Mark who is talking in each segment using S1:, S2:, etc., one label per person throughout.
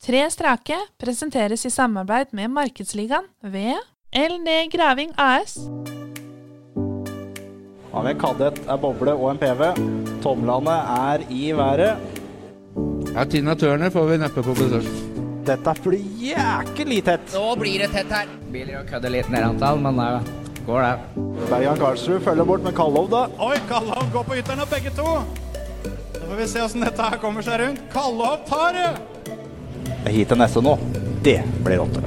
S1: Tre strake presenteres i samarbeid med Markedsligaen ved LD Graving AS.
S2: Har vi en kadett, en boble og en PV. Tomlene er i været.
S3: Ja, Tina Turner får vi neppe på besøk.
S2: Dette blir jækelig tett.
S4: Nå blir det tett her. Biler å kødde litt ned antall, men det går det.
S2: Bergan Karlsrud følger bort med Kallov, da.
S5: Oi, Kallov går på ytteren og begge to. Da får vi se åssen dette her kommer seg rundt. Kallov tar det!
S2: Hit til neste nå. Det blir åtte.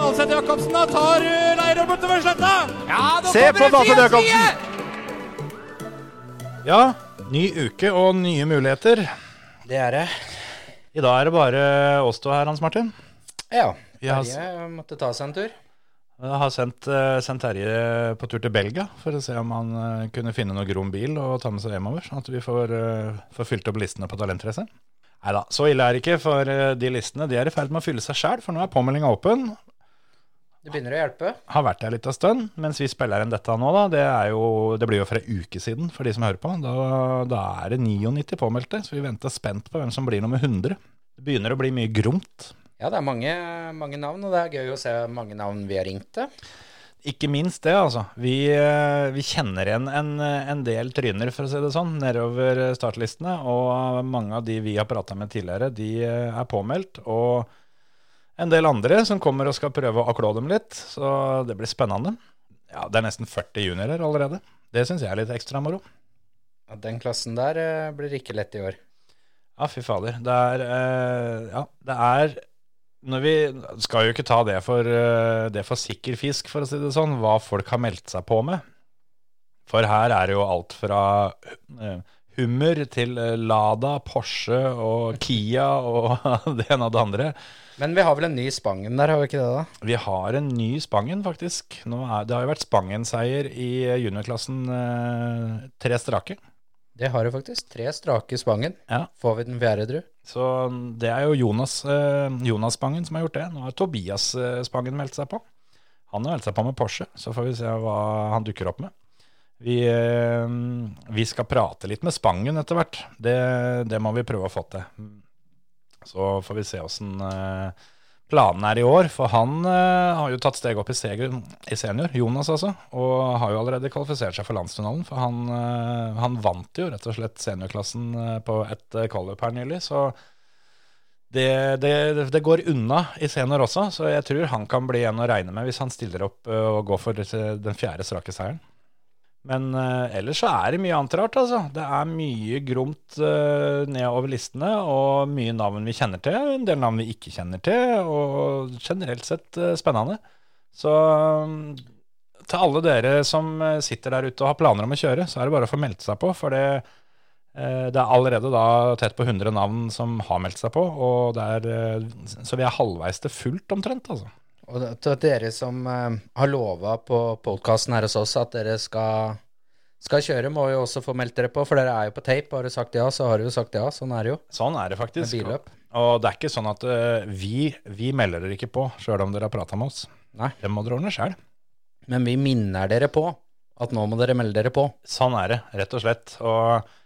S5: Alseth Jacobsen da tar eh, Leirøy bortover sletta.
S4: Ja, nå
S2: Se på
S4: kommer det
S2: Basse
S4: frie
S2: Jacobsen!
S4: side!
S6: Ja, ny uke og nye muligheter.
S7: Det er det.
S6: I dag er det bare oss to her, Hans Martin.
S7: Ja.
S6: Vi har,
S7: Terje måtte ta seg en tur.
S6: har sendt, eh, sendt Terje på tur til Belgia for å se om han eh, kunne finne noe grom bil og ta med seg hjemover, sånn at vi får, eh, får fylt opp listene på Talentrace. Nei da, så ille er det ikke, for eh, de listene de er i ferd med å fylle seg sjæl, for nå er påmeldinga åpen.
S7: Det begynner å hjelpe.
S6: Har vært der litt av stund, mens vi spiller inn dette nå, da. Det, er jo, det blir jo for ei uke siden for de som hører på. Da, da er det 99 påmeldte, så vi venter spent på hvem som blir nummer 100. Det begynner å bli mye gromt.
S7: Ja, det er mange, mange navn, og det er gøy å se mange navn vi har ringt til.
S6: Ikke minst det, altså. Vi, eh, vi kjenner igjen en, en del tryner, for å si det sånn, nedover startlistene. Og mange av de vi har prata med tidligere, de eh, er påmeldt. Og en del andre som kommer og skal prøve å klå dem litt. Så det blir spennende. Ja, det er nesten 40 juniorer allerede. Det syns jeg er litt ekstra moro.
S7: Ja, Den klassen der eh, blir ikke lett i år.
S6: Ja, fy fader. Det er eh, Ja, det er når vi skal jo ikke ta det for, eh, det for sikker fisk, for å si det sånn, hva folk har meldt seg på med. For her er det jo alt fra eh, hummer til eh, Lada, Porsche og Kia og det ene og det andre.
S7: Men vi har vel en ny Spangen der, har vi ikke det, da?
S6: Vi har en ny Spangen, faktisk. Nå er, det har jo vært Spangen-seier i juniorklassen eh, tre strake.
S7: Det har jo faktisk. Tre strake Spangen.
S6: Ja.
S7: Får vi den fjerde, tru?
S6: Så det er jo Jonas, eh, Jonas Spangen som har gjort det. Nå har Tobias eh, Spangen meldt seg på. Han har meldt seg på med Porsche, så får vi se hva han dukker opp med. Vi, eh, vi skal prate litt med Spangen etter hvert. Det, det må vi prøve å få til. Så får vi se åssen eh, planen er i år. For han eh, har jo tatt steget opp i, seger, i senior, Jonas altså, og har jo allerede kvalifisert seg for landsfinalen. For han, eh, han vant jo rett og slett seniorklassen eh, på et eh, kvalik her nylig. Så det, det, det går unna i senior også, så jeg tror han kan bli en å regne med hvis han stiller opp eh, og går for eh, den fjerde strake seieren. Men eh, ellers så er det mye annet rart, altså. Det er mye gromt eh, nedover listene, og mye navn vi kjenner til, en del navn vi ikke kjenner til, og generelt sett eh, spennende. Så mm, til alle dere som eh, sitter der ute og har planer om å kjøre, så er det bare å få meldt seg på, for det, eh, det er allerede da tett på 100 navn som har meldt seg på, og det er, eh, så vi er halvveis til fullt omtrent, altså.
S7: Og da- til dere som eh, har lova på podkasten her hos oss at dere skal, skal kjøre, må jo også få meldt dere på, for dere er jo på tape. Har du sagt ja, så har du jo sagt ja. Sånn er det jo.
S6: Sånn er det
S7: Med
S6: faktisk.
S7: billøp.
S6: Og det er ikke sånn at eh, vi, vi melder dere ikke på, sjøl om dere har prata med oss.
S7: Nei.
S6: Det må dere ordne sjøl.
S7: Men vi minner dere på at nå må dere melde dere på.
S6: Sånn er det, rett og slett. Og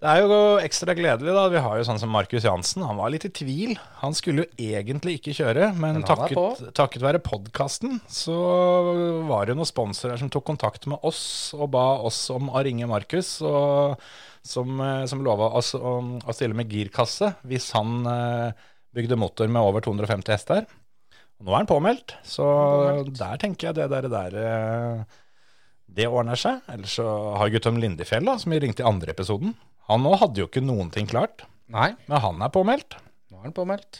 S6: det er jo ekstra gledelig, da. Vi har jo sånn som Markus Jansen. Han var litt i tvil. Han skulle jo egentlig ikke kjøre, men,
S7: Men han er
S6: takket, takket være podkasten så var det jo noen sponsorer som tok kontakt med oss og ba oss om å ringe Markus. og Som, eh, som lova oss å, å stille med girkasse hvis han eh, bygde motor med over 250 hester. Og nå er han påmeldt, så der tenker jeg det der, det der eh, det ordner seg. Ellers så har Guttorm Lindefjell, da, som vi ringte i andre episoden Han nå hadde jo ikke noen ting klart,
S7: Nei,
S6: men han er påmeldt.
S7: nå er han påmeldt.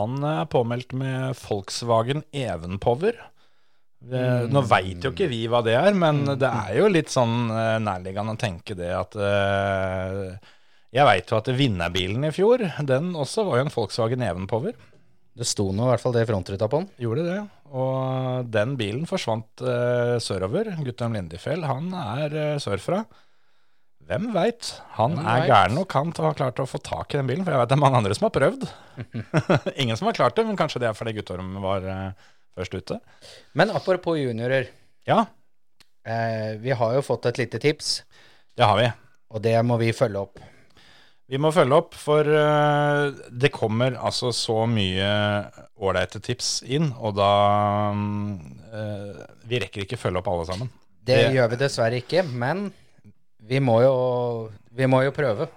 S6: Han er påmeldt med Volkswagen Evenpower. Eh, Nå veit jo ikke vi hva det er, men det er jo litt sånn eh, nærliggende å tenke det at eh, Jeg veit jo at vinnerbilen i fjor, den også var jo en Volkswagen Evenpower.
S7: Det sto nå i hvert fall det i frontruta på han.
S6: Gjorde det. Og den bilen forsvant eh, sørover. Guttorm Lindefjell, han er eh, sørfra. Hvem veit? Han
S7: Hvem
S6: er
S7: vet?
S6: gæren nok han til å ha klart å få tak i den bilen, for jeg veit det er mange andre som har prøvd. Ingen som har klart det, men kanskje det er fordi Guttorm var eh, først ute.
S7: Men apropos juniorer.
S6: Ja,
S7: Eh, vi har jo fått et lite tips,
S6: det har vi.
S7: og det må vi følge opp.
S6: Vi må følge opp, for eh, det kommer altså så mye ålreite tips inn, og da mm, eh, Vi rekker ikke følge opp alle sammen.
S7: Det
S6: Det-
S7: gjør vi dessverre ikke, men vi må jo, vi må jo prøve.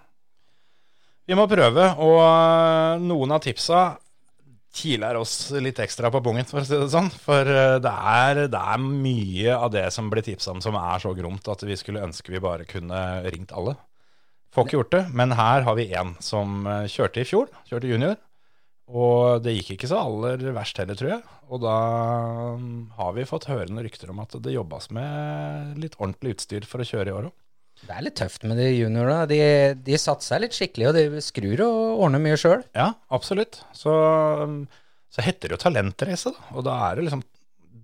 S6: Vi må prøve, og eh, noen av tipsa kiler oss litt ekstra på bongen, for å si det sånn. For eh, det er, det er mye av det som blir tipsa om som er så gromt at vi skulle ønske vi bare kunne ringt alle. Får ikke gjort det, men her har vi én som eh, kjørte i fjor, kjørte junior. Og det gikk ikke så aller verst heller, tror jeg. Og da mm, har vi fått høre noen rykter om at det jobbes med litt ordentlig utstyr for å kjøre i år òg.
S7: Det er litt tøft med de juniorene. De, de satser litt skikkelig, og de skrur og ordner mye sjøl.
S6: Ja, absolutt. Så, um, så heter det jo talentrace, da. Og da er det liksom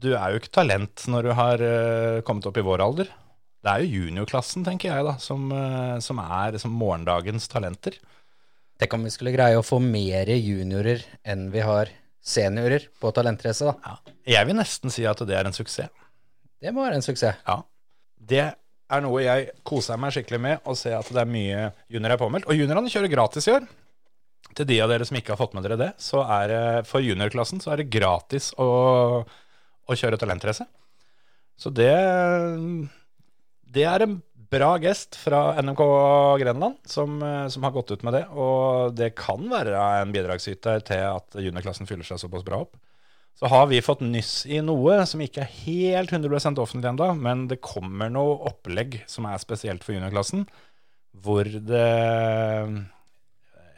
S6: Du er jo ikke talent når du har eh, kommet opp i vår alder. Det er jo juniorklassen, tenker jeg, da, som, eh, som er liksom morgendagens talenter.
S7: Tenk om vi skulle greie å få mer juniorer enn vi har seniorer på talentrace, da.
S6: Jeg vil nesten si at det er en suksess.
S7: Det må være en suksess.
S6: Ja. Det er noe jeg koser meg skikkelig med å se at det er mye juniorer er påmeldt. Og juniorene kjører gratis i år. Til de av dere som ikke har fått med dere det, så er det for juniorklassen så er det gratis å, å kjøre talentrace. Så det Det er en bra gest fra NMK Grenland som, eh, som har gått ut med det. Og det kan være en bidragsyter til at juniorklassen fyller seg såpass bra opp. Så har vi fått nyss i noe som ikke er helt 100 offentlig ennå, men det kommer noe opplegg som er spesielt for juniorklassen, hvor det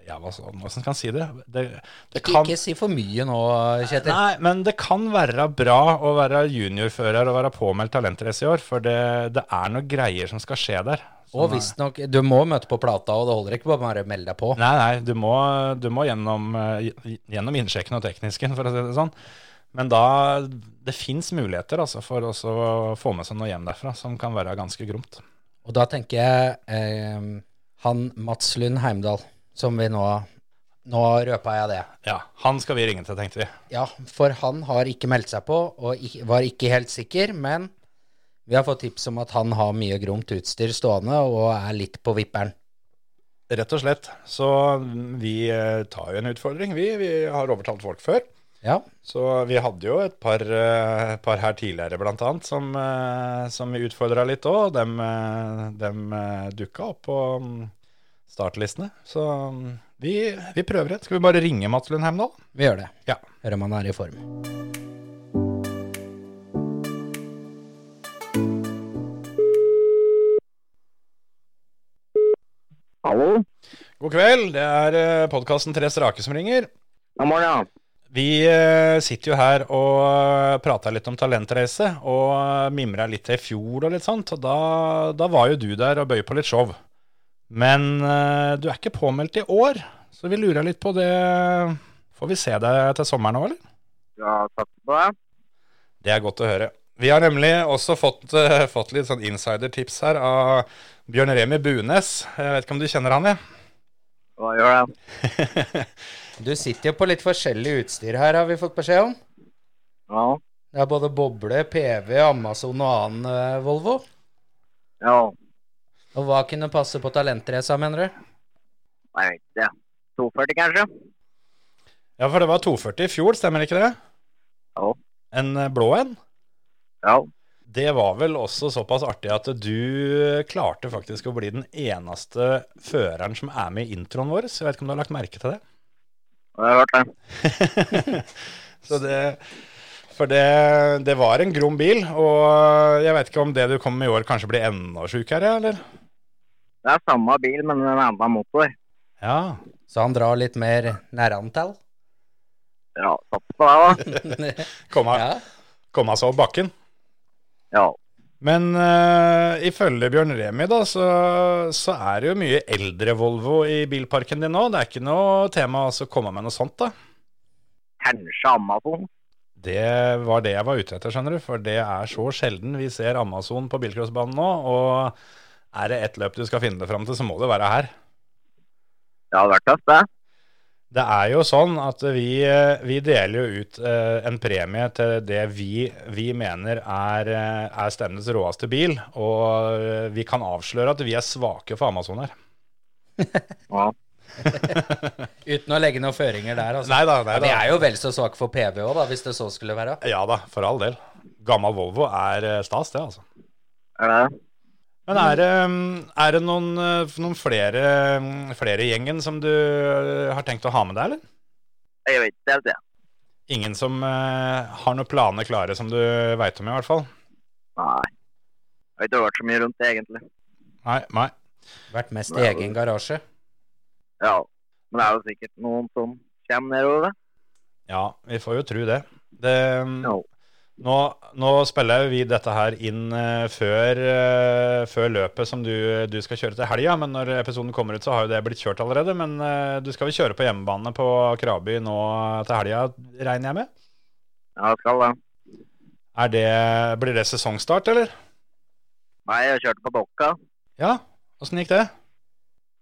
S6: Ja, hva så- hvordan skal en si det? Det, det
S7: Ikke-
S6: kan
S7: Ikke si for mye nå, Kjetil.
S6: Nei, men det kan være bra å være juniorfører og være påmeldt talentrace i år, for det, det er noen greier som skal skje der.
S7: Og visstnok Du må møte på plata, og det holder ikke bare bare å melde deg på.
S6: Nei, nei, du må, du må gjennom, eh, gj- gjennom innsjekken og teknisken, for å si det sånn. Men da, det fins muligheter altså, for også å få med seg noe hjem derfra, som kan være ganske gromt.
S7: Og da tenker jeg eh, han Mats Lund Heimdal, som vi nå Nå røpa jeg det.
S6: Ja, han skal vi ringe til, tenkte vi.
S7: Ja, for han har ikke meldt seg på, og ik- var ikke helt sikker, men vi har fått tips om at han har mye gromt utstyr stående og er litt på vipperen.
S6: Rett og slett. Så mm, vi eh, tar jo en utfordring, vi. Vi har overtalt folk før.
S7: Ja,
S6: Så vi hadde jo et par, eh, par her tidligere, blant annet, som, eh, som vi utfordra litt òg. Dem, eh, dem eh, dukka opp på mm, startlistene. Så mm, vi, vi prøver det. Skal vi bare ringe Mats Lundheim nå?
S7: vi gjør det.
S6: Ja.
S7: Hører om han er i form.
S8: Hallo?
S6: God kveld, det er podkasten Tre strake som ringer.
S8: God morgen, ja.
S6: Vi eh, sitter jo her og eh, prater litt om talentreise, og eh, mimrer litt til i fjor og litt sånt, og da, da var jo du der og bøy på litt show. Men eh, du er ikke påmeldt i år, så vi lurer litt på det. Får vi se deg til sommeren òg, eller?
S8: Ja, takk for det.
S6: Det er godt å høre. Vi har nemlig også fått, eh, fått litt sånn insidertips her av Bjørn Remi Bunes. Jeg vet ikke om du kjenner han, jeg?
S8: Hva gjør det?
S7: Du sitter jo på litt forskjellig utstyr her, har vi fått beskjed om.
S8: Ja.
S7: Det er både boble, PV, Amazon og annen eh, Volvo.
S8: Ja.
S7: Og hva kunne passe på talentrace, mener du?
S8: Nei, jeg vet ikke. 240 kanskje?
S6: Ja, for det var 240 i fjor, stemmer ikke det?
S8: Ja.
S6: En eh, blå en?
S8: Ja.
S6: Det var vel også såpass artig at du klarte faktisk å bli den eneste føreren som er med i introen vår. Så jeg vet ikke om du har lagt merke til det?
S8: Jeg har hørt det.
S6: Så det for det, det var en grom bil, og jeg vet ikke om det du kommer med i år kanskje blir enda sjukere, eller?
S8: Det er samme bil, men en annen motor.
S6: Ja.
S7: Så han drar litt mer nærantall?
S8: Ja, satser på det da.
S6: Komme
S7: ja.
S6: komme seg opp bakken.
S8: Ja.
S6: Men eh, ifølge Bjørn Remi, da, så, så er det jo mye eldre Volvo i bilparken din nå. Det er ikke noe tema å altså, komme med noe sånt, da.
S8: Kanskje Amazon.
S6: Det var det jeg var ute etter, skjønner du. For det er så sjelden vi ser Amazon på bilcrossbanen nå. Og er det ett løp du skal finne det fram til, så må det være her.
S8: Det hadde vært tøft det.
S6: Det er jo sånn at vi, eh, vi deler jo ut eh, en premie til det vi, vi mener er, eh, er stevnets råeste bil. Og eh, vi kan avsløre at vi er svake for Amazon her.
S8: Ja.
S7: Uten å legge noen føringer der, altså.
S6: Nei da, nei
S7: Vi
S6: da.
S7: er jo vel så svake for PV òg, da, hvis det så skulle være.
S6: Ja da, for all del. Gammel Volvo er eh, stas, det, altså.
S8: Er det det?
S6: Men er det, mm, er det noen, eh, noen flere, mm, flere i gjengen som du eh, har tenkt å ha med deg, eller?
S8: Jeg vet ikke helt, jeg.
S6: Ingen som eh, har noen planer klare som du veit om, i hvert fall?
S8: Nei. Jeg har ikke hørt så mye rundt det, egentlig.
S6: Nei, nei.
S7: Vært mest i egen garasje.
S8: Ja. Men det er jo sikkert noen som kommer nedover, da.
S6: Ja, vi får jo tro det. det mm,
S8: Ja.
S6: nå, nå spiller jo vi dette her inn eh, før, eh, før løpet som du, du skal kjøre til helga, men når episoden kommer ut, så har jo det blitt kjørt allerede. Men eh, du skal vel kjøre på hjemmebane på Kraby nå til helga, regner jeg med?
S8: Ja, jeg skal det.
S6: Er det, blir det sesongstart, eller?
S8: Nei, jeg kjørte på Dokka.
S6: Ja, åssen gikk det?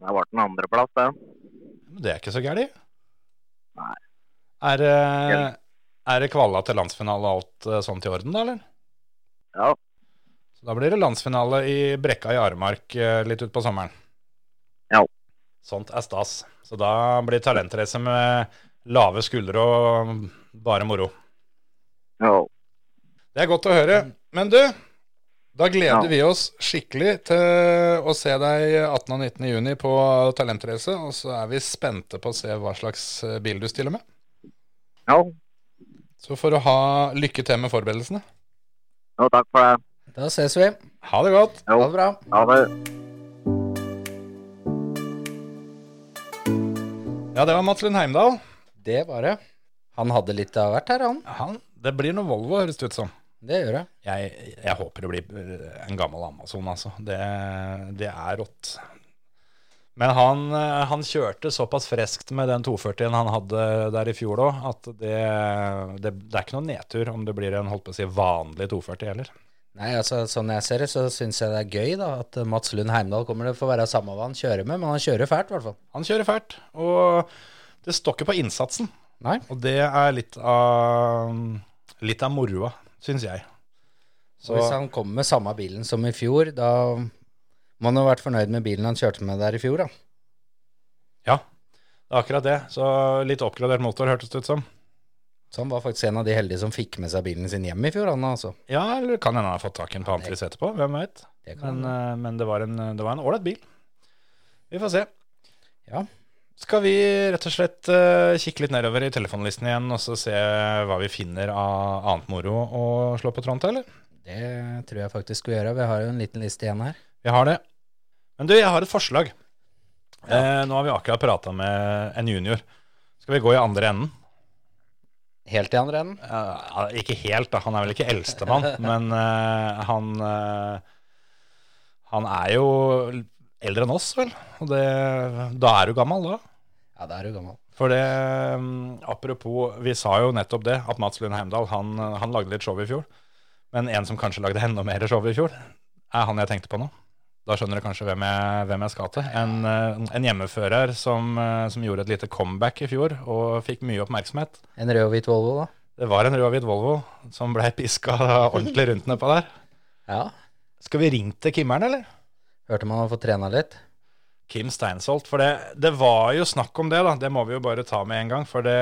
S8: Det ble en andreplass, det.
S6: Men Det er ikke så gærent.
S8: Nei.
S6: Er, eh, er det kvala til landsfinale og alt eh, sånt i orden, da, eller?
S8: Ja.
S6: Så da blir det landsfinale i Brekka i Aremark eh, litt utpå sommeren.
S8: Ja.
S6: Sånt er stas. Så da blir talentrace med lave skuldre og bare moro.
S8: Jo.
S6: Det er godt å høre. Men du, da gleder
S8: Ja.
S6: vi oss skikkelig til å se deg 18. og 19. juni på talentrace, og så er vi spente på å se hva slags eh, bil du stiller med.
S8: Jo.
S6: Så får du ha lykke til med forberedelsene.
S8: jo, takk for det.
S7: Da ses vi.
S6: Ha det godt.
S8: Jo.
S7: Ha det bra.
S8: Ha det.
S6: Ja, det var Mats Lund Heimdal.
S7: Det var det. Han hadde litt av hvert her, han.
S6: Han, det blir noe Volvo, høres det ut som.
S7: Det gjør det.
S6: Jeg, jeg håper det blir eh, en gammel Amazon, altså. Det, det er rått. Men han, eh, han kjørte såpass freskt med den 240-en han hadde der i fjor òg, at det, det, det er ikke noen nedtur om det blir en holdt på å si, vanlig 240 heller.
S7: Nei, altså Sånn jeg ser det, så syns jeg det er gøy da at eh, Mats Lund Heimdal kommer til å få være samme hva han kjører med, men han kjører fælt, i hvert fall.
S6: Han kjører fælt, og det står ikke på innsatsen.
S7: Nei.
S6: Og det er litt av, litt av moroa, syns jeg.
S7: Så hvis han kommer med samme bilen som i fjor, da må han jo ha vært fornøyd med bilen han kjørte med der i fjor, da.
S6: Ja, det er akkurat det. Så litt oppgradert motor, hørtes det ut som.
S7: Så han var faktisk en av de heldige som fikk med seg bilen sin hjem i fjor, han altså.
S6: Ja, eller kan hende han har fått tak i en på Amfris etterpå, hvem veit.
S7: Det kan
S6: Men, eh, men det var en det var en ålreit bil. Vi får se.
S7: Ja.
S6: Skal vi rett og slett eh, kikke litt nedover i telefonlisten igjen, og så se hva vi finner av annet moro å slå på tråden til, eller?
S7: Det tror jeg faktisk vi gjør. Vi har jo en liten liste igjen her.
S6: Vi har det. Men du, jeg har et forslag. Eh, nå har vi akkurat prata med en junior. Skal vi gå i andre enden?
S7: Helt i andre enden.
S6: Eh, ikke helt, da. Han er vel ikke eldstemann, men eh, han eh, Han er jo eldre enn oss, vel. Og det, da er du gammel, da.
S7: Ja, da er du gammel.
S6: For det mm, Apropos, vi sa jo nettopp det, at Mats Lund Heimdal han, han lagde litt show i fjor. Men en som kanskje lagde enda mer show i fjor, er han jeg tenkte på nå. Da skjønner du kanskje hvem jeg, hvem jeg skal til. En, eh, en hjemmefører som, eh, som gjorde et lite comeback i fjor og fikk mye oppmerksomhet.
S7: En rød og hvit Volvo, da.
S6: Det var en rød og hvit Volvo som blei piska ordentlig rundt nedpå der.
S7: Ja.
S6: Skal vi ringe til Kimmeren, eller?
S7: Hørte man har fått trena litt.
S6: Kim Steinsholt. For det, det var jo snakk om det, da. Det må vi jo bare ta med en gang. For det,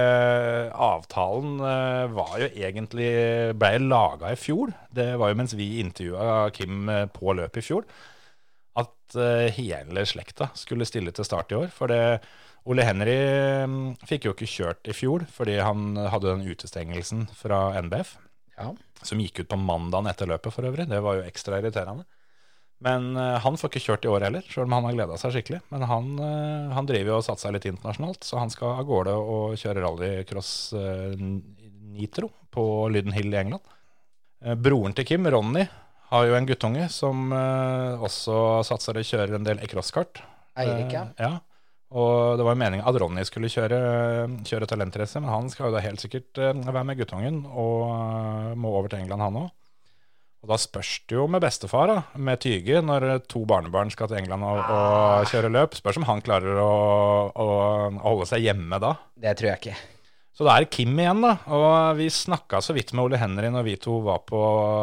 S6: avtalen eh, var jo egentlig blei laga i fjor. Det var jo mens vi intervjua Kim eh, på løpet i fjor. At eh, hele slekta skulle stille til start i år. For det, Ole Henry mm, fikk jo ikke kjørt i fjor fordi han hadde den utestengelsen fra NBF.
S7: Ja.
S6: Som gikk ut på mandagen etter løpet, for øvrig. Det var jo ekstra irriterende. Men eh, han får ikke kjørt i år heller, sjøl om han har gleda seg skikkelig. Men han, eh, han driver jo og satser litt internasjonalt, så han skal av gårde og kjøre rallycross eh, Nitro på Lyden Hill i England. Eh, Broren til Kim, Ronny, har jo en guttunge som eh, også satser og kjører en del e-crosskart.
S7: Eirik, ja.
S6: Eh, ja. Og det var jo meningen at Ronny skulle kjøre, kjøre talentrace, men han skal jo da helt sikkert eh, være med guttungen og eh, må over til England, han òg. Og da spørs det jo med bestefar, da, med Tyge, når to barnebarn skal til England og, og kjøre løp. Spørs om han klarer å, å, å holde seg hjemme da.
S7: Eh, Det tror jeg ikke.
S6: Så da er det Kim igjen, da. Og vi snakka så vidt med Ole Henry når vi to var på,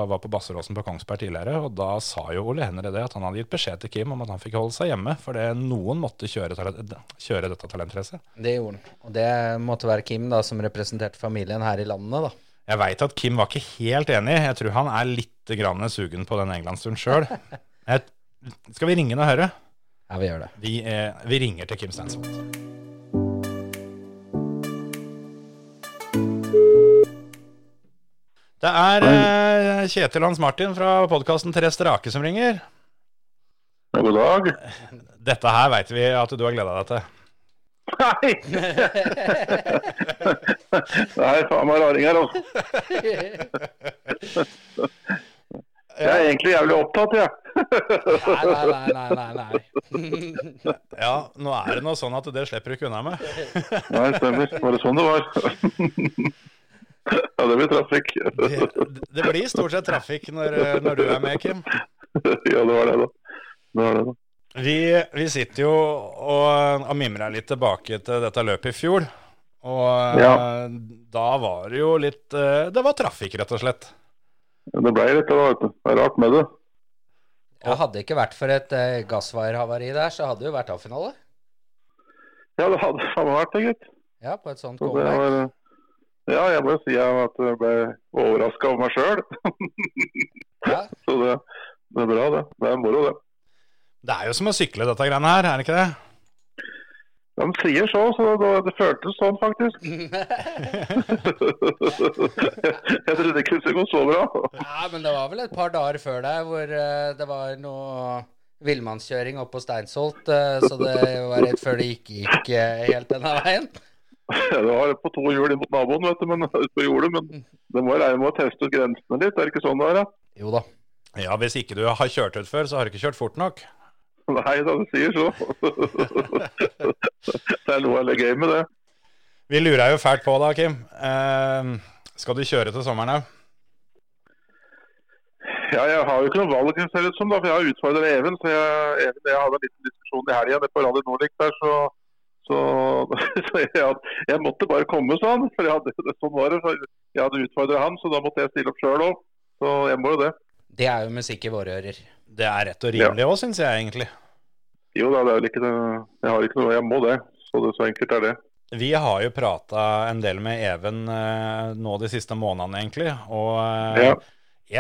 S6: var på Basseråsen på Kongsberg tidligere. Og da sa jo Ole Henry det, at han hadde gitt beskjed til Kim om at han fikk holde seg hjemme. For det- noen måtte kjøre, tale- kjøre dette talentracet.
S7: Det gjorde han. Og det måtte være Kim, da, som representerte familien her i landet, da.
S6: Jeg veit at Kim var ikke helt enig. Jeg tror han er litt grann sugen på den englandsturen sjøl. Skal vi ringe han og høre?
S7: Ja, vi gjør det.
S6: Vi, eh, vi ringer til Kim Steinsvold. Det er eh, Kjetil Hans Martin fra podkasten Tre strake som ringer.
S9: God dag.
S6: Dette her veit vi at du har gleda deg til.
S9: Nei! Nei, faen meg raring her, altså. Jeg er egentlig jævlig opptatt, jeg.
S7: Nei, nei, nei, nei. nei, nei.
S6: Ja, nå er det nå sånn at det slipper du ikke unna med.
S9: Nei, stemmer. Var det sånn det var? Ja, det blir trafikk.
S6: Det, det blir stort sett trafikk når, eh, når du er med, Kim.
S9: Ja, det var det, da. Det var det, da.
S6: Vi, vi sitter jo og, og mimrer litt tilbake til dette løpet i fjor. Og
S9: Ja.
S6: eh, da var det jo litt eh, Det var trafikk, rett og slett.
S9: Det ble litt av det, vet du. Det er rart med det.
S7: Og hadde det ikke vært for et eh, gassvarehavari der, så hadde det jo vært A-finale.
S9: Ja, det hadde faen meg vært det, gitt.
S7: Ja, på et sånt
S9: Så det
S7: comeback.
S9: var eh, Ja, jeg må jo si at jeg ble overraska over meg sjøl.
S7: Ja.
S9: Så det, det er bra, det. Det er moro, det.
S6: Det er jo som å sykle dette greiene her, er det ikke det?
S9: De sier så, så det, det føltes sånn faktisk. jeg trodde ikke det skulle gå så bra.
S7: Nei, men det var vel et par dager før der hvor eh, det var noe villmannskjøring oppe på Steinsholt, eh, så det var rett før det ikke gikk eh, helt denne veien.
S9: Det var på to hjul inn mot naboen, vet du, men, ut på jordet, men det må jo regne med å teste ut grensene litt. Er det ikke sånn det er? da?
S7: Jo da.
S6: Ja, hvis ikke du har kjørt ut før, så har du ikke kjørt fort nok.
S9: Nei da, de sier så. det er noe av det gøy med det.
S6: Vi lurer jo fælt på da, Kim. Eh, skal du kjøre til sommeren òg?
S9: Ja, jeg har jo ikke noe valg, ser det ut som, da, for jeg har utfordret Even. Så jeg, Even, jeg hadde en liten diskusjon i helga på Radio Nordic der, så, så, så jeg, hadde, jeg måtte bare komme, sa han. For jeg hadde, sånn var det. Så jeg hadde utfordret han, så da måtte jeg stille opp sjøl òg. Så jeg må jo det.
S7: Det er jo musikk i våre ører.
S6: Det er rett og rimelig òg, syns jeg egentlig.
S9: Jo da, det er vel ikke det. Jeg har ikke noe, jeg må det. Så det så enkelt er det.
S6: Vi har jo prata en del med Even eh, nå de siste månedene, egentlig. Og eh,
S9: Ja.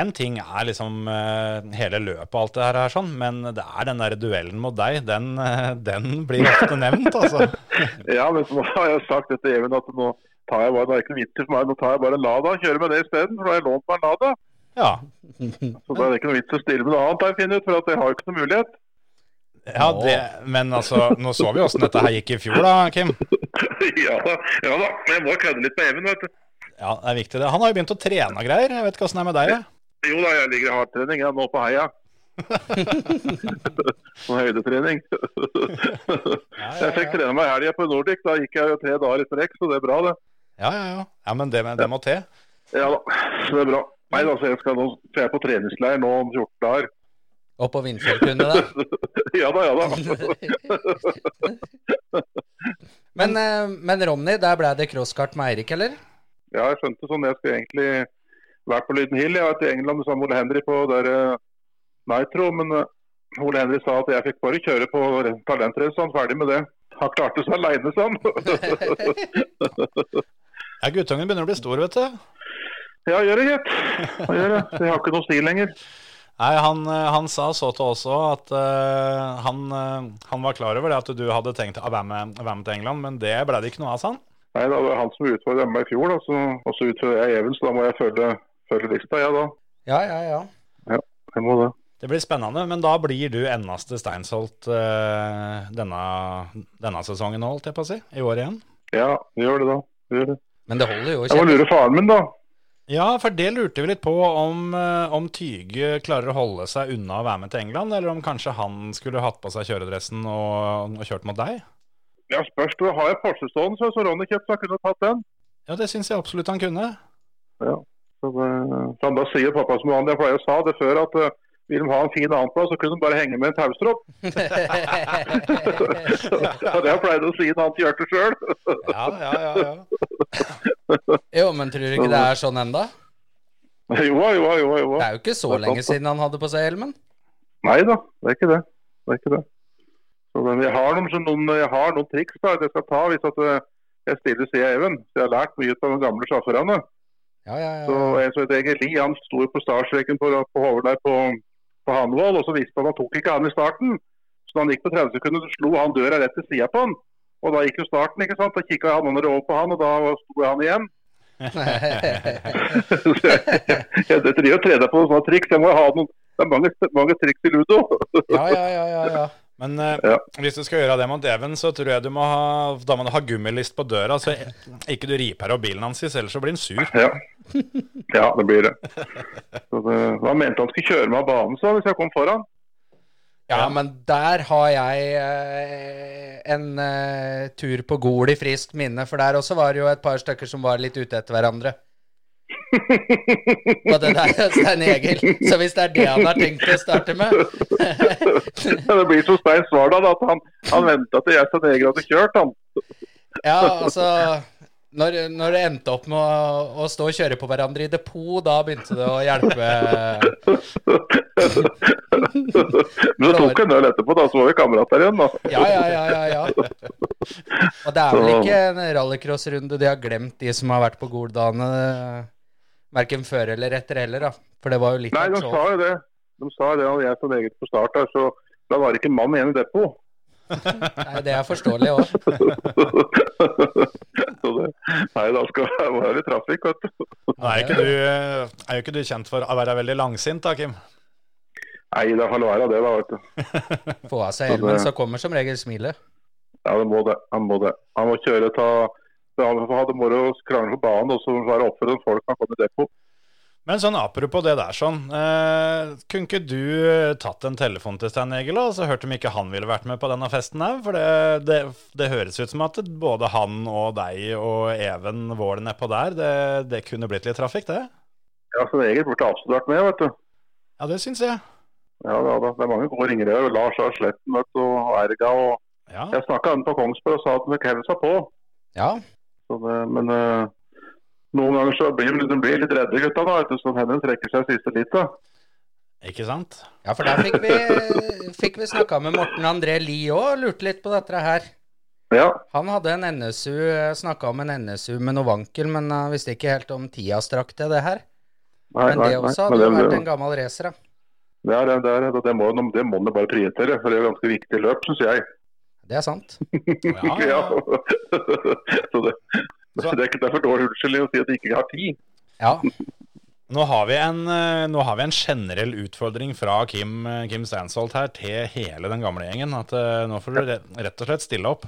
S6: En ting er liksom eh, hele løpet og alt det her, er sånn, men det er den der duellen mot deg, den, eh, den blir ofte nevnt, altså.
S9: Ja, men så har jeg sagt dette Even at nå tar jeg bare, det er ikke noe vits i for meg, nå tar jeg bare en Lada og kjører med det isteden. For da har jeg lånt meg en Lada.
S6: Ja,
S9: Så da er det ikke noe vits i å stille med noe annet, har jeg funnet ut, for at jeg har jo ikke noe mulighet.
S6: ja det, men altså, nå så vi åssen dette her gikk i fjor da, Kim.
S9: ja, da, ja da, men jeg må kødde litt med Even, vet du.
S6: Ja, det er viktig det. Han har jo begynt å trene og greier, jeg vet ikke åssen det er med deg? jeg.
S9: Jo da, jeg ligger i hardtrening jeg, nå på heia. Sånn høydetrening. jeg fikk trene meg i helga på Nordic, da gikk jeg jo tre dager i strekk, så det er bra det.
S6: Ja, ja, ja. Ja, men det, det må til.
S9: Ja da, så det er bra. Nei, altså, jeg skal nå, for jeg er på treningsleir nå om 14 dager.
S7: Og på Vindfjellkundet der.
S9: ja da, ja da.
S7: Men, eh, men Ronny, der ble det crosskart med Eirik, eller?
S9: Ja, jeg skjønte sånn. Jeg skulle egentlig vært på Lyden Hill. Jeg var til England sammen med Ole Henry på der eh, Nitro, men eh, Ole Henry sa at jeg fikk bare kjøre på talentrace, så han ferdig med det. Han klarte seg aleine, sa han.
S6: Ja, guttungen begynner å bli stor, vet du.
S9: ja, gjør det, gitt. Han Gjør det. Jeg har ikke noe stil lenger.
S6: Nei, han, eh, han sa så til oss også at eh, han, eh, han var klar over det at du hadde tenkt å være med, være med til England, men det ble det ikke noe av, sa han.
S9: Nei, det var han som utfordra meg i fjor, da, så, og så utfordrer jeg Even, så da må jeg følge, følge lista, ja da.
S7: Ja, ja, ja.
S9: Jeg må det.
S6: Det blir spennende, men da blir du endaste Steinsholt eh, denne, denne sesongen, holdt jeg på å si. I år igjen.
S9: Ja, gjør det, da. Gjør det.
S7: Men det holder jo å
S9: Jeg må
S7: kjenne.
S9: lure faren min, da.
S6: Ja, for det lurte vi litt på, om, eh, om Tyge klarer å holde seg unna å være med til England, eller om kanskje han skulle hatt på seg kjøredressen og, og kjørt mot deg?
S9: Ja, spørs du. Har jeg Porsche stående, så- så Ronny Kjøpstad kunne tatt den.
S6: Ja, det syns jeg absolutt han kunne.
S9: Så det, så da sier pappa som han, jeg pleier å sa det før, at eh, vil de ha en fin annenplass, så kunne de bare henge med en taustropp. Så det har jeg pleid å si når han til Hjørte sjøl.
S6: Ja, ja, ja. ja.
S7: Jo, men tror du ikke det er sånn enda?
S9: Jo da, jo da, jo da, jo
S7: Det
S9: da.
S7: er jo ikke så lenge siden han hadde på seg hjelmen.
S9: Nei da, det er ikke det. det, er ikke det. Så, men jeg, har noen, sånn- noen, jeg har noen triks da, at jeg skal ta hvis at eh, jeg stiller Sia Even. Så jeg har lært mye av de gamle sjåførene.
S7: Ja, ja,
S9: Så
S7: ja.
S9: jeg så et Egil Lie, han sto jo på startstreken på, på Hoved der på, på Hanvold, og så visste han han tok ikke han i starten. Så da han gikk på 30 sekunder, så slo han døra rett til sida på han. Og da gikk jo starten, ikke sant. Da kikka han under over på han, og da sto han igjen. så jeg, jeg, jeg driver og trener på sånne triks. Jeg må jo ha noen Det er mange, mange triks i ludo.
S7: Ja, ja, ja, ja, ja.
S6: Men eh,
S9: Ja.
S6: hvis du skal gjøre det mot Even, så tror jeg du må ha, da må du ha gummilist på døra, så ikke du riper av bilen hans, ellers så blir han sur.
S9: Ja. ja, det blir det. Så det han mente han skulle kjøre meg av banen, så, hvis jeg kom foran.
S7: Ja, men der har jeg eh, en eh, tur på Gol i friskt minne, for der også var det jo et par stykker som var litt ute etter hverandre. Og det der er Stein Egil. Så hvis det er det han har tenkt å starte med
S9: Ja, det blir som Stein Svardal, at han, han venta til jeg sa neger hadde kjørt, han.
S7: Ja, altså Når, når det endte opp med å, å stå og kjøre på hverandre i depot, da begynte det å hjelpe. eh,
S9: Men så tok han øl etterpå, da, så var vi kamerater igjen, da.
S7: Ja, ja, ja, ja. ja. Og det er vel ikke en rallycrossrunde de har glemt, de som har vært på Goldane. Verken før eller etter heller, da. For det var jo litt
S9: Nei,
S7: av
S9: de
S7: et show.
S9: sa jo det. De sa det da jeg sa neger på start der, så da var det ikke mann igjen i depot.
S7: Nei, Det er forståelig òg.
S9: så det, nei, da skal det være trafikk, vet du.
S6: Nå er, jo ikke du, eh, er jo ikke du kjent for å være veldig langsint, da, Kim?
S9: Nei, det får være det, da, vet du.
S7: Få av seg hjelmen, så kommer som regel smilet.
S9: Ja, det må det. Han må det. Han må kjøre, ta Han hadde moro å krangle på banen og så være oppe for de folk han kom i depot.
S6: Men sånn apropos det der sånn, eh, kunne ikke du eh, tatt en telefon til Stein Egil og så hørt om ikke han ville vært med på denne festen her? For det, det, det høres ut som at både han og deg og Even Vål nedpå der, det, det kunne blitt litt trafikk, det?
S9: Ja, så Egil burde absolutt vært med, vet du.
S6: Ja, det syns jeg.
S9: Ja, da, da. Det er mange gode ringere. og Lars A. Sletten vet du, og Erga. Og...
S6: Ja.
S9: Jeg snakka med på Kongsberg og sa at de ikke heller seg på.
S7: Ja.
S9: Så det, men eh, noen ganger så blir de, de blir litt redde, gutta. da, vet du, så hendene trekker seg siste lite.
S6: Ikke sant?
S7: ja, for der fikk vi, fikk vi snakka med Morten André Lie òg, og lurte litt på dette her.
S9: Ja,
S7: Han hadde en NSU, snakka eh, om en NSU med noe vankel, men han visste ikke helt om tida strakk til det her.
S9: nei,
S7: Men
S9: nei,
S7: det
S9: nei.
S7: også hadde
S9: Men
S7: jo
S9: det,
S7: vært
S9: det,
S7: en gammel racer, da.
S9: det, er, det, er, det, må, de- det må de bare prioritere, for det er jo ganske viktig løp, syns jeg.
S7: Det er sant.
S6: Ja, ja.
S9: Ja. så det,
S6: Så-
S9: det er ikke det er for dårlig unnskyldning å si at de ikke har tid.
S7: Ja.
S6: Nå har, vi en, eh, nå har vi en generell utfordring fra Kim, eh, Kim Steinsholt her til hele den gamle gjengen. At eh, nå får du re- rett og slett stille opp.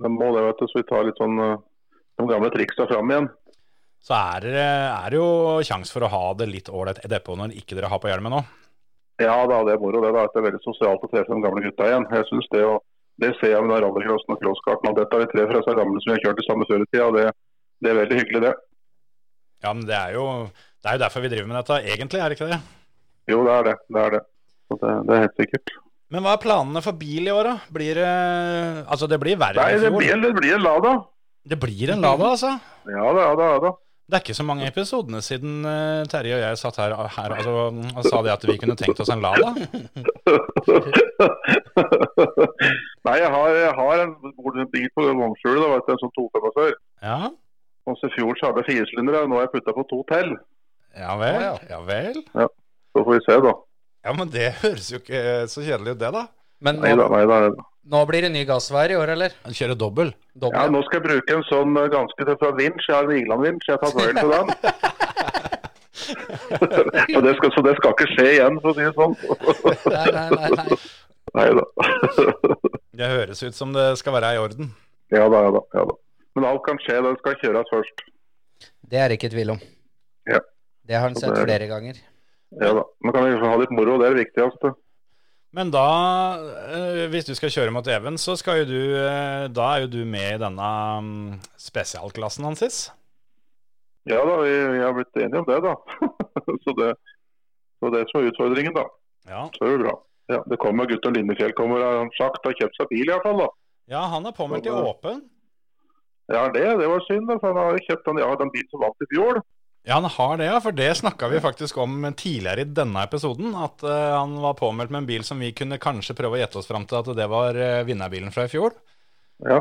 S9: De må det, vet du, så vi tar litt sånn eh, de gamle triksa fram igjen.
S6: Så er det er det jo sjanse for å ha det litt ålreit i depotet når ikke dere har på hjelmen nå.
S9: Ja da, det er moro. Det, da. det er veldig sosialt å treffe de gamle gutta igjen. Jeg synes det, å- det ser jeg med den rallycrossen og crosskarten. at Dette er de tre fra seg gamle som vi har kjørt i samme før i tida. Det, det er veldig hyggelig, det.
S6: Ja, men det er jo, det er jo derfor vi driver med dette, egentlig, er det ikke det?
S9: Jo, det er det. Det er det. Så det, det er helt sikkert.
S6: Men hva er planene for bil i år, da? Blir det Altså, det blir verre
S9: Nei,
S6: enn i
S9: det
S6: fjor.
S9: blir, en- det blir en Lada.
S6: Det blir en lava, altså.
S9: Ja da, ja da. ja da.
S6: Det er ikke så mange episodene siden eh, Terje og jeg satt her, her altså, og sa det at vi kunne tenkt oss en lava.
S9: Nei, jeg har, jeg har en en bil på vognskjulet. da, vet du, En sånn 245.
S6: Ja,
S9: Og så I fjor så hadde jeg firesylindere, og nå har jeg putta på to til.
S6: ja vel.
S7: Å,
S6: Ja vel.
S9: Så får vi se, da.
S6: Ja, men det høres jo ikke så kjedelig ut, det, da.
S7: Men
S9: Nei da,
S7: nå,
S9: nei da. nei da.
S7: nå blir det ny gassvær i år, eller?
S6: Kjøre dobbel.
S9: Ja,
S7: Dobbel.
S9: nå skal jeg bruke en sånn eh, ganske tøff fra Vinch. Jeg har en Vigeland-vinsj. Jeg har tatt Royal til den. Og det skal, så det skal ikke skje igjen, for å si det sånn.
S7: Nei, nei, nei, nei.
S9: Nei da.
S6: Det høres ut som det skal være i orden.
S9: Ja da, ja da. ja da. Men alt kan skje. Den skal kjøres først.
S7: Det er det ikke tvil om.
S9: Ja.
S7: Det har han sett
S9: det er det.
S7: flere ganger.
S9: Ja da. Men kan vi ha litt moro, det er det viktigste.
S6: Men da, eh, hvis du skal kjøre mot Even, så skal jo du eh, Da er jo du med i denne mm, spesialklassen hans, Sis.
S9: Ja da, vi, vi har blitt enige om det, da. Så det, så det som er utfordringen, da.
S6: Ja.
S9: Så er det bra. Ja, det kommer Gutten Lindefjell kommer, har han sagt. Har kjøpt seg bil i hvert fall, da.
S6: ja, han er påmeldt i
S9: Ja, det-
S6: Åpen.
S9: Ja, det, det var synd, da, for han har jo kjøpt den, ja, den bilen som vant i fjor.
S6: Ja, han har det, ja. For det snakka vi faktisk om tidligere i denne episoden. At eh, han var påmeldt med en bil som vi kunne kanskje prøve å gjette oss fram til at det var eh, vinnerbilen fra i fjor.
S9: Ja,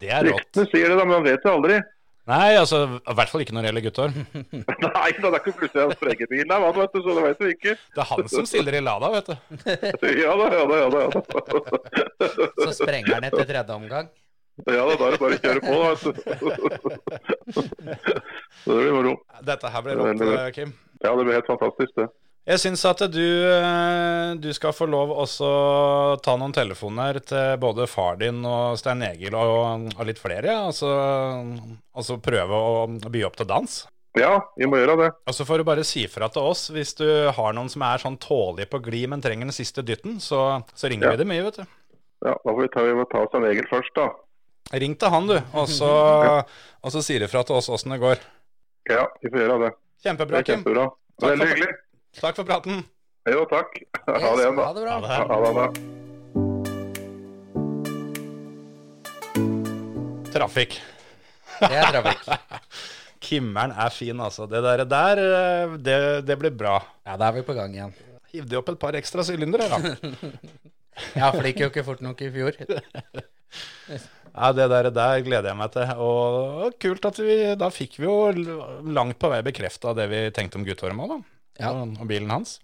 S6: Det er rått.
S9: Ryktene sier det, da, men han vet jo aldri.
S6: Nei, altså i hvert fall ikke når det gjelder gutter.
S9: Nei, da, det er ikke plutselig hans egen bil, nei, han, vet du, så det vet du ikke.
S6: Det er han som stiller i Lada, vet du.
S9: Ja da, ja da, ja da. Ja da,
S7: Så sprenger han etter tredje omgang.
S9: ja, da, da er det bare å kjøre på, da. vet du. Så det blir moro.
S6: Dette her ble rått, eh, Kim.
S9: Ja, det blir helt fantastisk, det.
S6: Jeg syns at du, eh, du skal få lov også å ta noen telefoner til både far din og Stein Egil og, og litt flere. ja. Altså, altså prøve å by opp til dans.
S9: Ja, vi må gjøre det.
S6: Og så Altså, får du bare si fra til oss hvis du har noen som er sånn tålige på glid, men trenger den siste dytten, så, så ringer
S9: Ja.
S6: vi dem mye, vet du.
S9: Ja, Da får vi ta, vi må ta oss en egen først, da.
S6: Ring til han, du, og så, og så sier du fra til oss åssen det går.
S9: Ja, vi får gjøre det. Det
S6: Kjempebra,
S9: er
S6: Kim.
S9: kjempebra.
S6: Takk for-
S9: Veldig hyggelig.
S6: Takk for praten.
S9: Jo, takk. Ha det igjen,
S7: Ha
S9: da.
S7: det bra.
S9: Ha det, da.
S6: Trafikk.
S7: Det er trafikk.
S6: Kimmeren er fin, altså. Det der, der eh, det, det blir bra.
S7: Ja, da er vi på gang igjen.
S6: Hiv de opp et par ekstra sylindere, da.
S7: Ja, for det gikk jo ikke fort nok i fjor.
S6: Ja, det der, der gleder jeg meg til. Og, og kult at vi Da fikk vi jo l- langt på vei bekrefta det vi tenkte om Guttorm òg, da.
S7: Ja.
S6: Og, og bilen hans.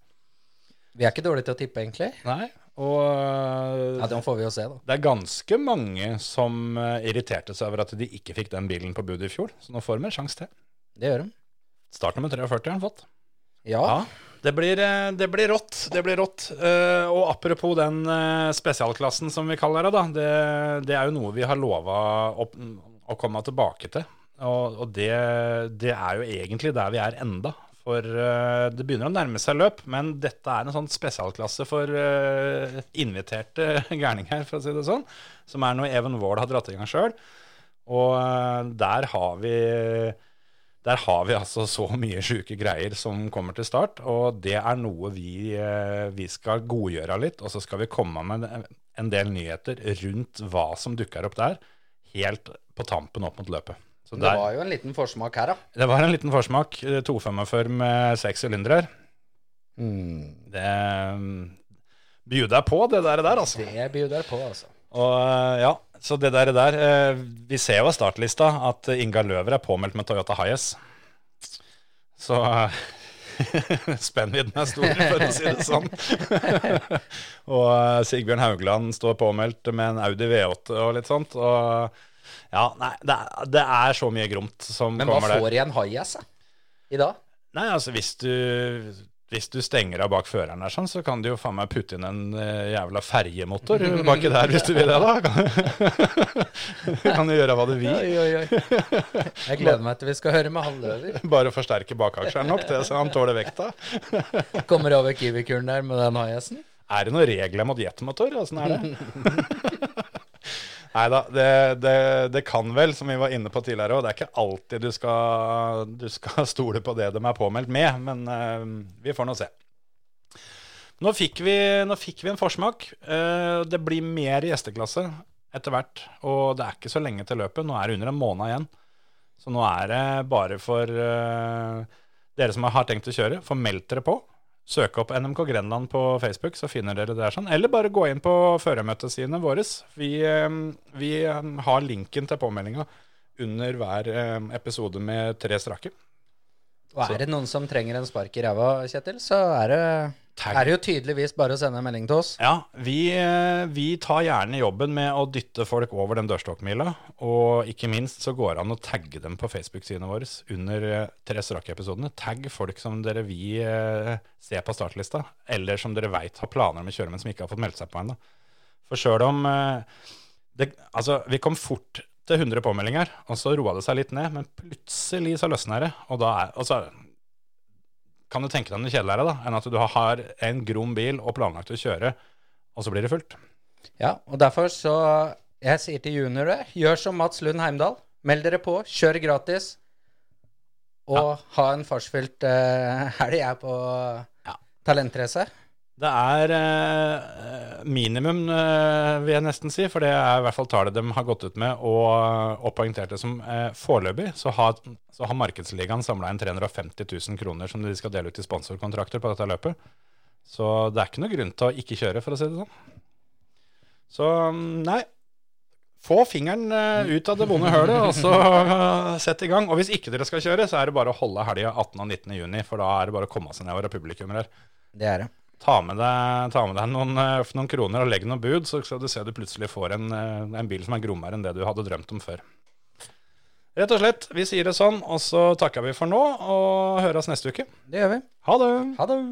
S7: Vi er ikke dårlige til å tippe, egentlig.
S6: Nei. Og eh,
S7: Ja, Den får vi jo se, da.
S6: det er ganske mange som eh, irriterte seg over at de ikke fikk den bilen på budet i fjor, så nå får de en sjanse til.
S7: Det gjør de.
S6: Start nummer 43 har han fått.
S7: Ja.
S6: Ja. Det blir, eh, det blir rått. Det blir rått. Eh, Og apropos den eh, spesialklassen som vi kaller det, da. Det, det er jo noe vi har lova å, å komme tilbake til. Og, og det, det er jo egentlig der vi er enda. For eh, det begynner å nærme seg løp, men dette er en sånn spesialklasse for eh, inviterte gærninger, for å si det sånn. Som er noe Even Wold har dratt i gang sjøl. Og eh, der har vi der har vi altså så mye sjuke greier som kommer til start, og det er noe vi, eh, vi skal godgjøre litt, og så skal vi komme med en del nyheter rundt hva som dukker opp der, helt på tampen opp mot løpet. Så
S7: Men
S6: der,
S7: det var jo en liten forsmak her, da.
S6: det var en liten forsmak. eh, 245 med seks sylindere. Det eh, Bjuder deg på, det der, der altså.
S7: Det bjuder på, altså.
S6: Og eh, ja, så det der, der eh, Vi ser jo av startlista at Inga Løver er påmeldt med Toyota Hiace. Så eh, spennvidden er stor, for å si det sånn. og eh, Sigbjørn Haugland står påmeldt med en Audi V8 og litt sånt. Og ja, nei, det er, det er så mye gromt som
S7: Men hva
S6: kommer der.
S7: får igjen Hajas, da? I dag?
S6: Nei, altså hvis du, hvis du stenger av bak føreren der sånn, så kan du jo faen meg putte inn en eh, jævla ferjemotor baki der hvis du vil det, da. Kan, kan du gjøre hva du vil.
S7: Oi, oi, oi. Jeg gleder meg til vi skal høre med han Løver.
S6: Bare forsterke bakaksjeren nok til så han tåler vekta.
S7: Kommer over Kiwi-kuren der med den hajasen.
S6: Er det noen regler mot jetmotor? Åssen er det? Nei da, det, det, det kan vel, som vi var inne på tidligere òg, det er ikke alltid du skal, du skal stole på det de er påmeldt med, men eh, vi får nå se. Nå fikk vi, nå fikk vi en forsmak. Eh, det blir mer gjesteklasse etter hvert, og det er ikke så lenge til løpet. Nå er det under en måned igjen. Så nå er det bare for eh, dere som har tenkt å kjøre, få meldt dere på. Søk opp NMK Grenland på Facebook, så finner dere det der sånn. Eller bare gå inn på førermøtesidene våre. Vi, eh, vi eh, har linken til påmeldinga under hver eh, episode med tre strake.
S7: Og er det noen som trenger en spark i ræva, Kjetil, så er det,
S6: Tagg.
S7: er det jo tydeligvis bare å sende en melding til oss.
S6: Ja, vi, eh, vi tar gjerne jobben med å dytte folk over den dørstokkmila. Og ikke minst så går det an å tagge dem på Facebook-sidene våre under eh, tre strake episodene. Tagg folk som dere vi eh, ser på startlista, eller som dere veit har planer om å kjøre, men som ikke har fått meldt seg på ennå. For sjøl om eh, det, Altså, vi kom fort til 100 påmeldinger, og så roa det seg litt ned, men plutselig så løsna det. Og da er altså, kan du tenke deg noe kjedeligere da, enn at du har en grom bil og planlagt å kjøre, og så blir det fullt.
S7: Ja, og derfor så Jeg sier til juniorer, gjør som Mats Lund Heimdal. Meld dere på, kjør gratis. Og ha en fartsfylt eh, helg her på
S6: Ja.
S7: talentrace.
S6: Det er eh, minimum, eh, vil jeg nesten si, for det er i hvert fall tallet de har gått ut med og, og poengtert det som. Eh, foreløpig så har, så har Markedsligaen samla inn 350 000 kroner som de skal dele ut i sponsorkontrakter på dette løpet. Så det er ikke noe grunn til å ikke kjøre, for å si det sånn. Så mm, nei. Få fingeren eh, ut av det vonde hølet, og så eh, sett i gang. Og hvis ikke dere skal kjøre, så er det bare å holde helga 18. og 19. juni, for da er det bare å komme seg nedover av publikum her.
S7: Det er det.
S6: Ta med deg, ta med deg noen, eh, noen kroner og legg noen bud, så skal du se du plutselig får en, eh, en bil som er grommere enn det du hadde drømt om før. Rett og slett, vi sier det sånn, og så takker vi for nå, og høres neste uke.
S7: Det gjør vi.
S6: Ha det!
S7: Ha det.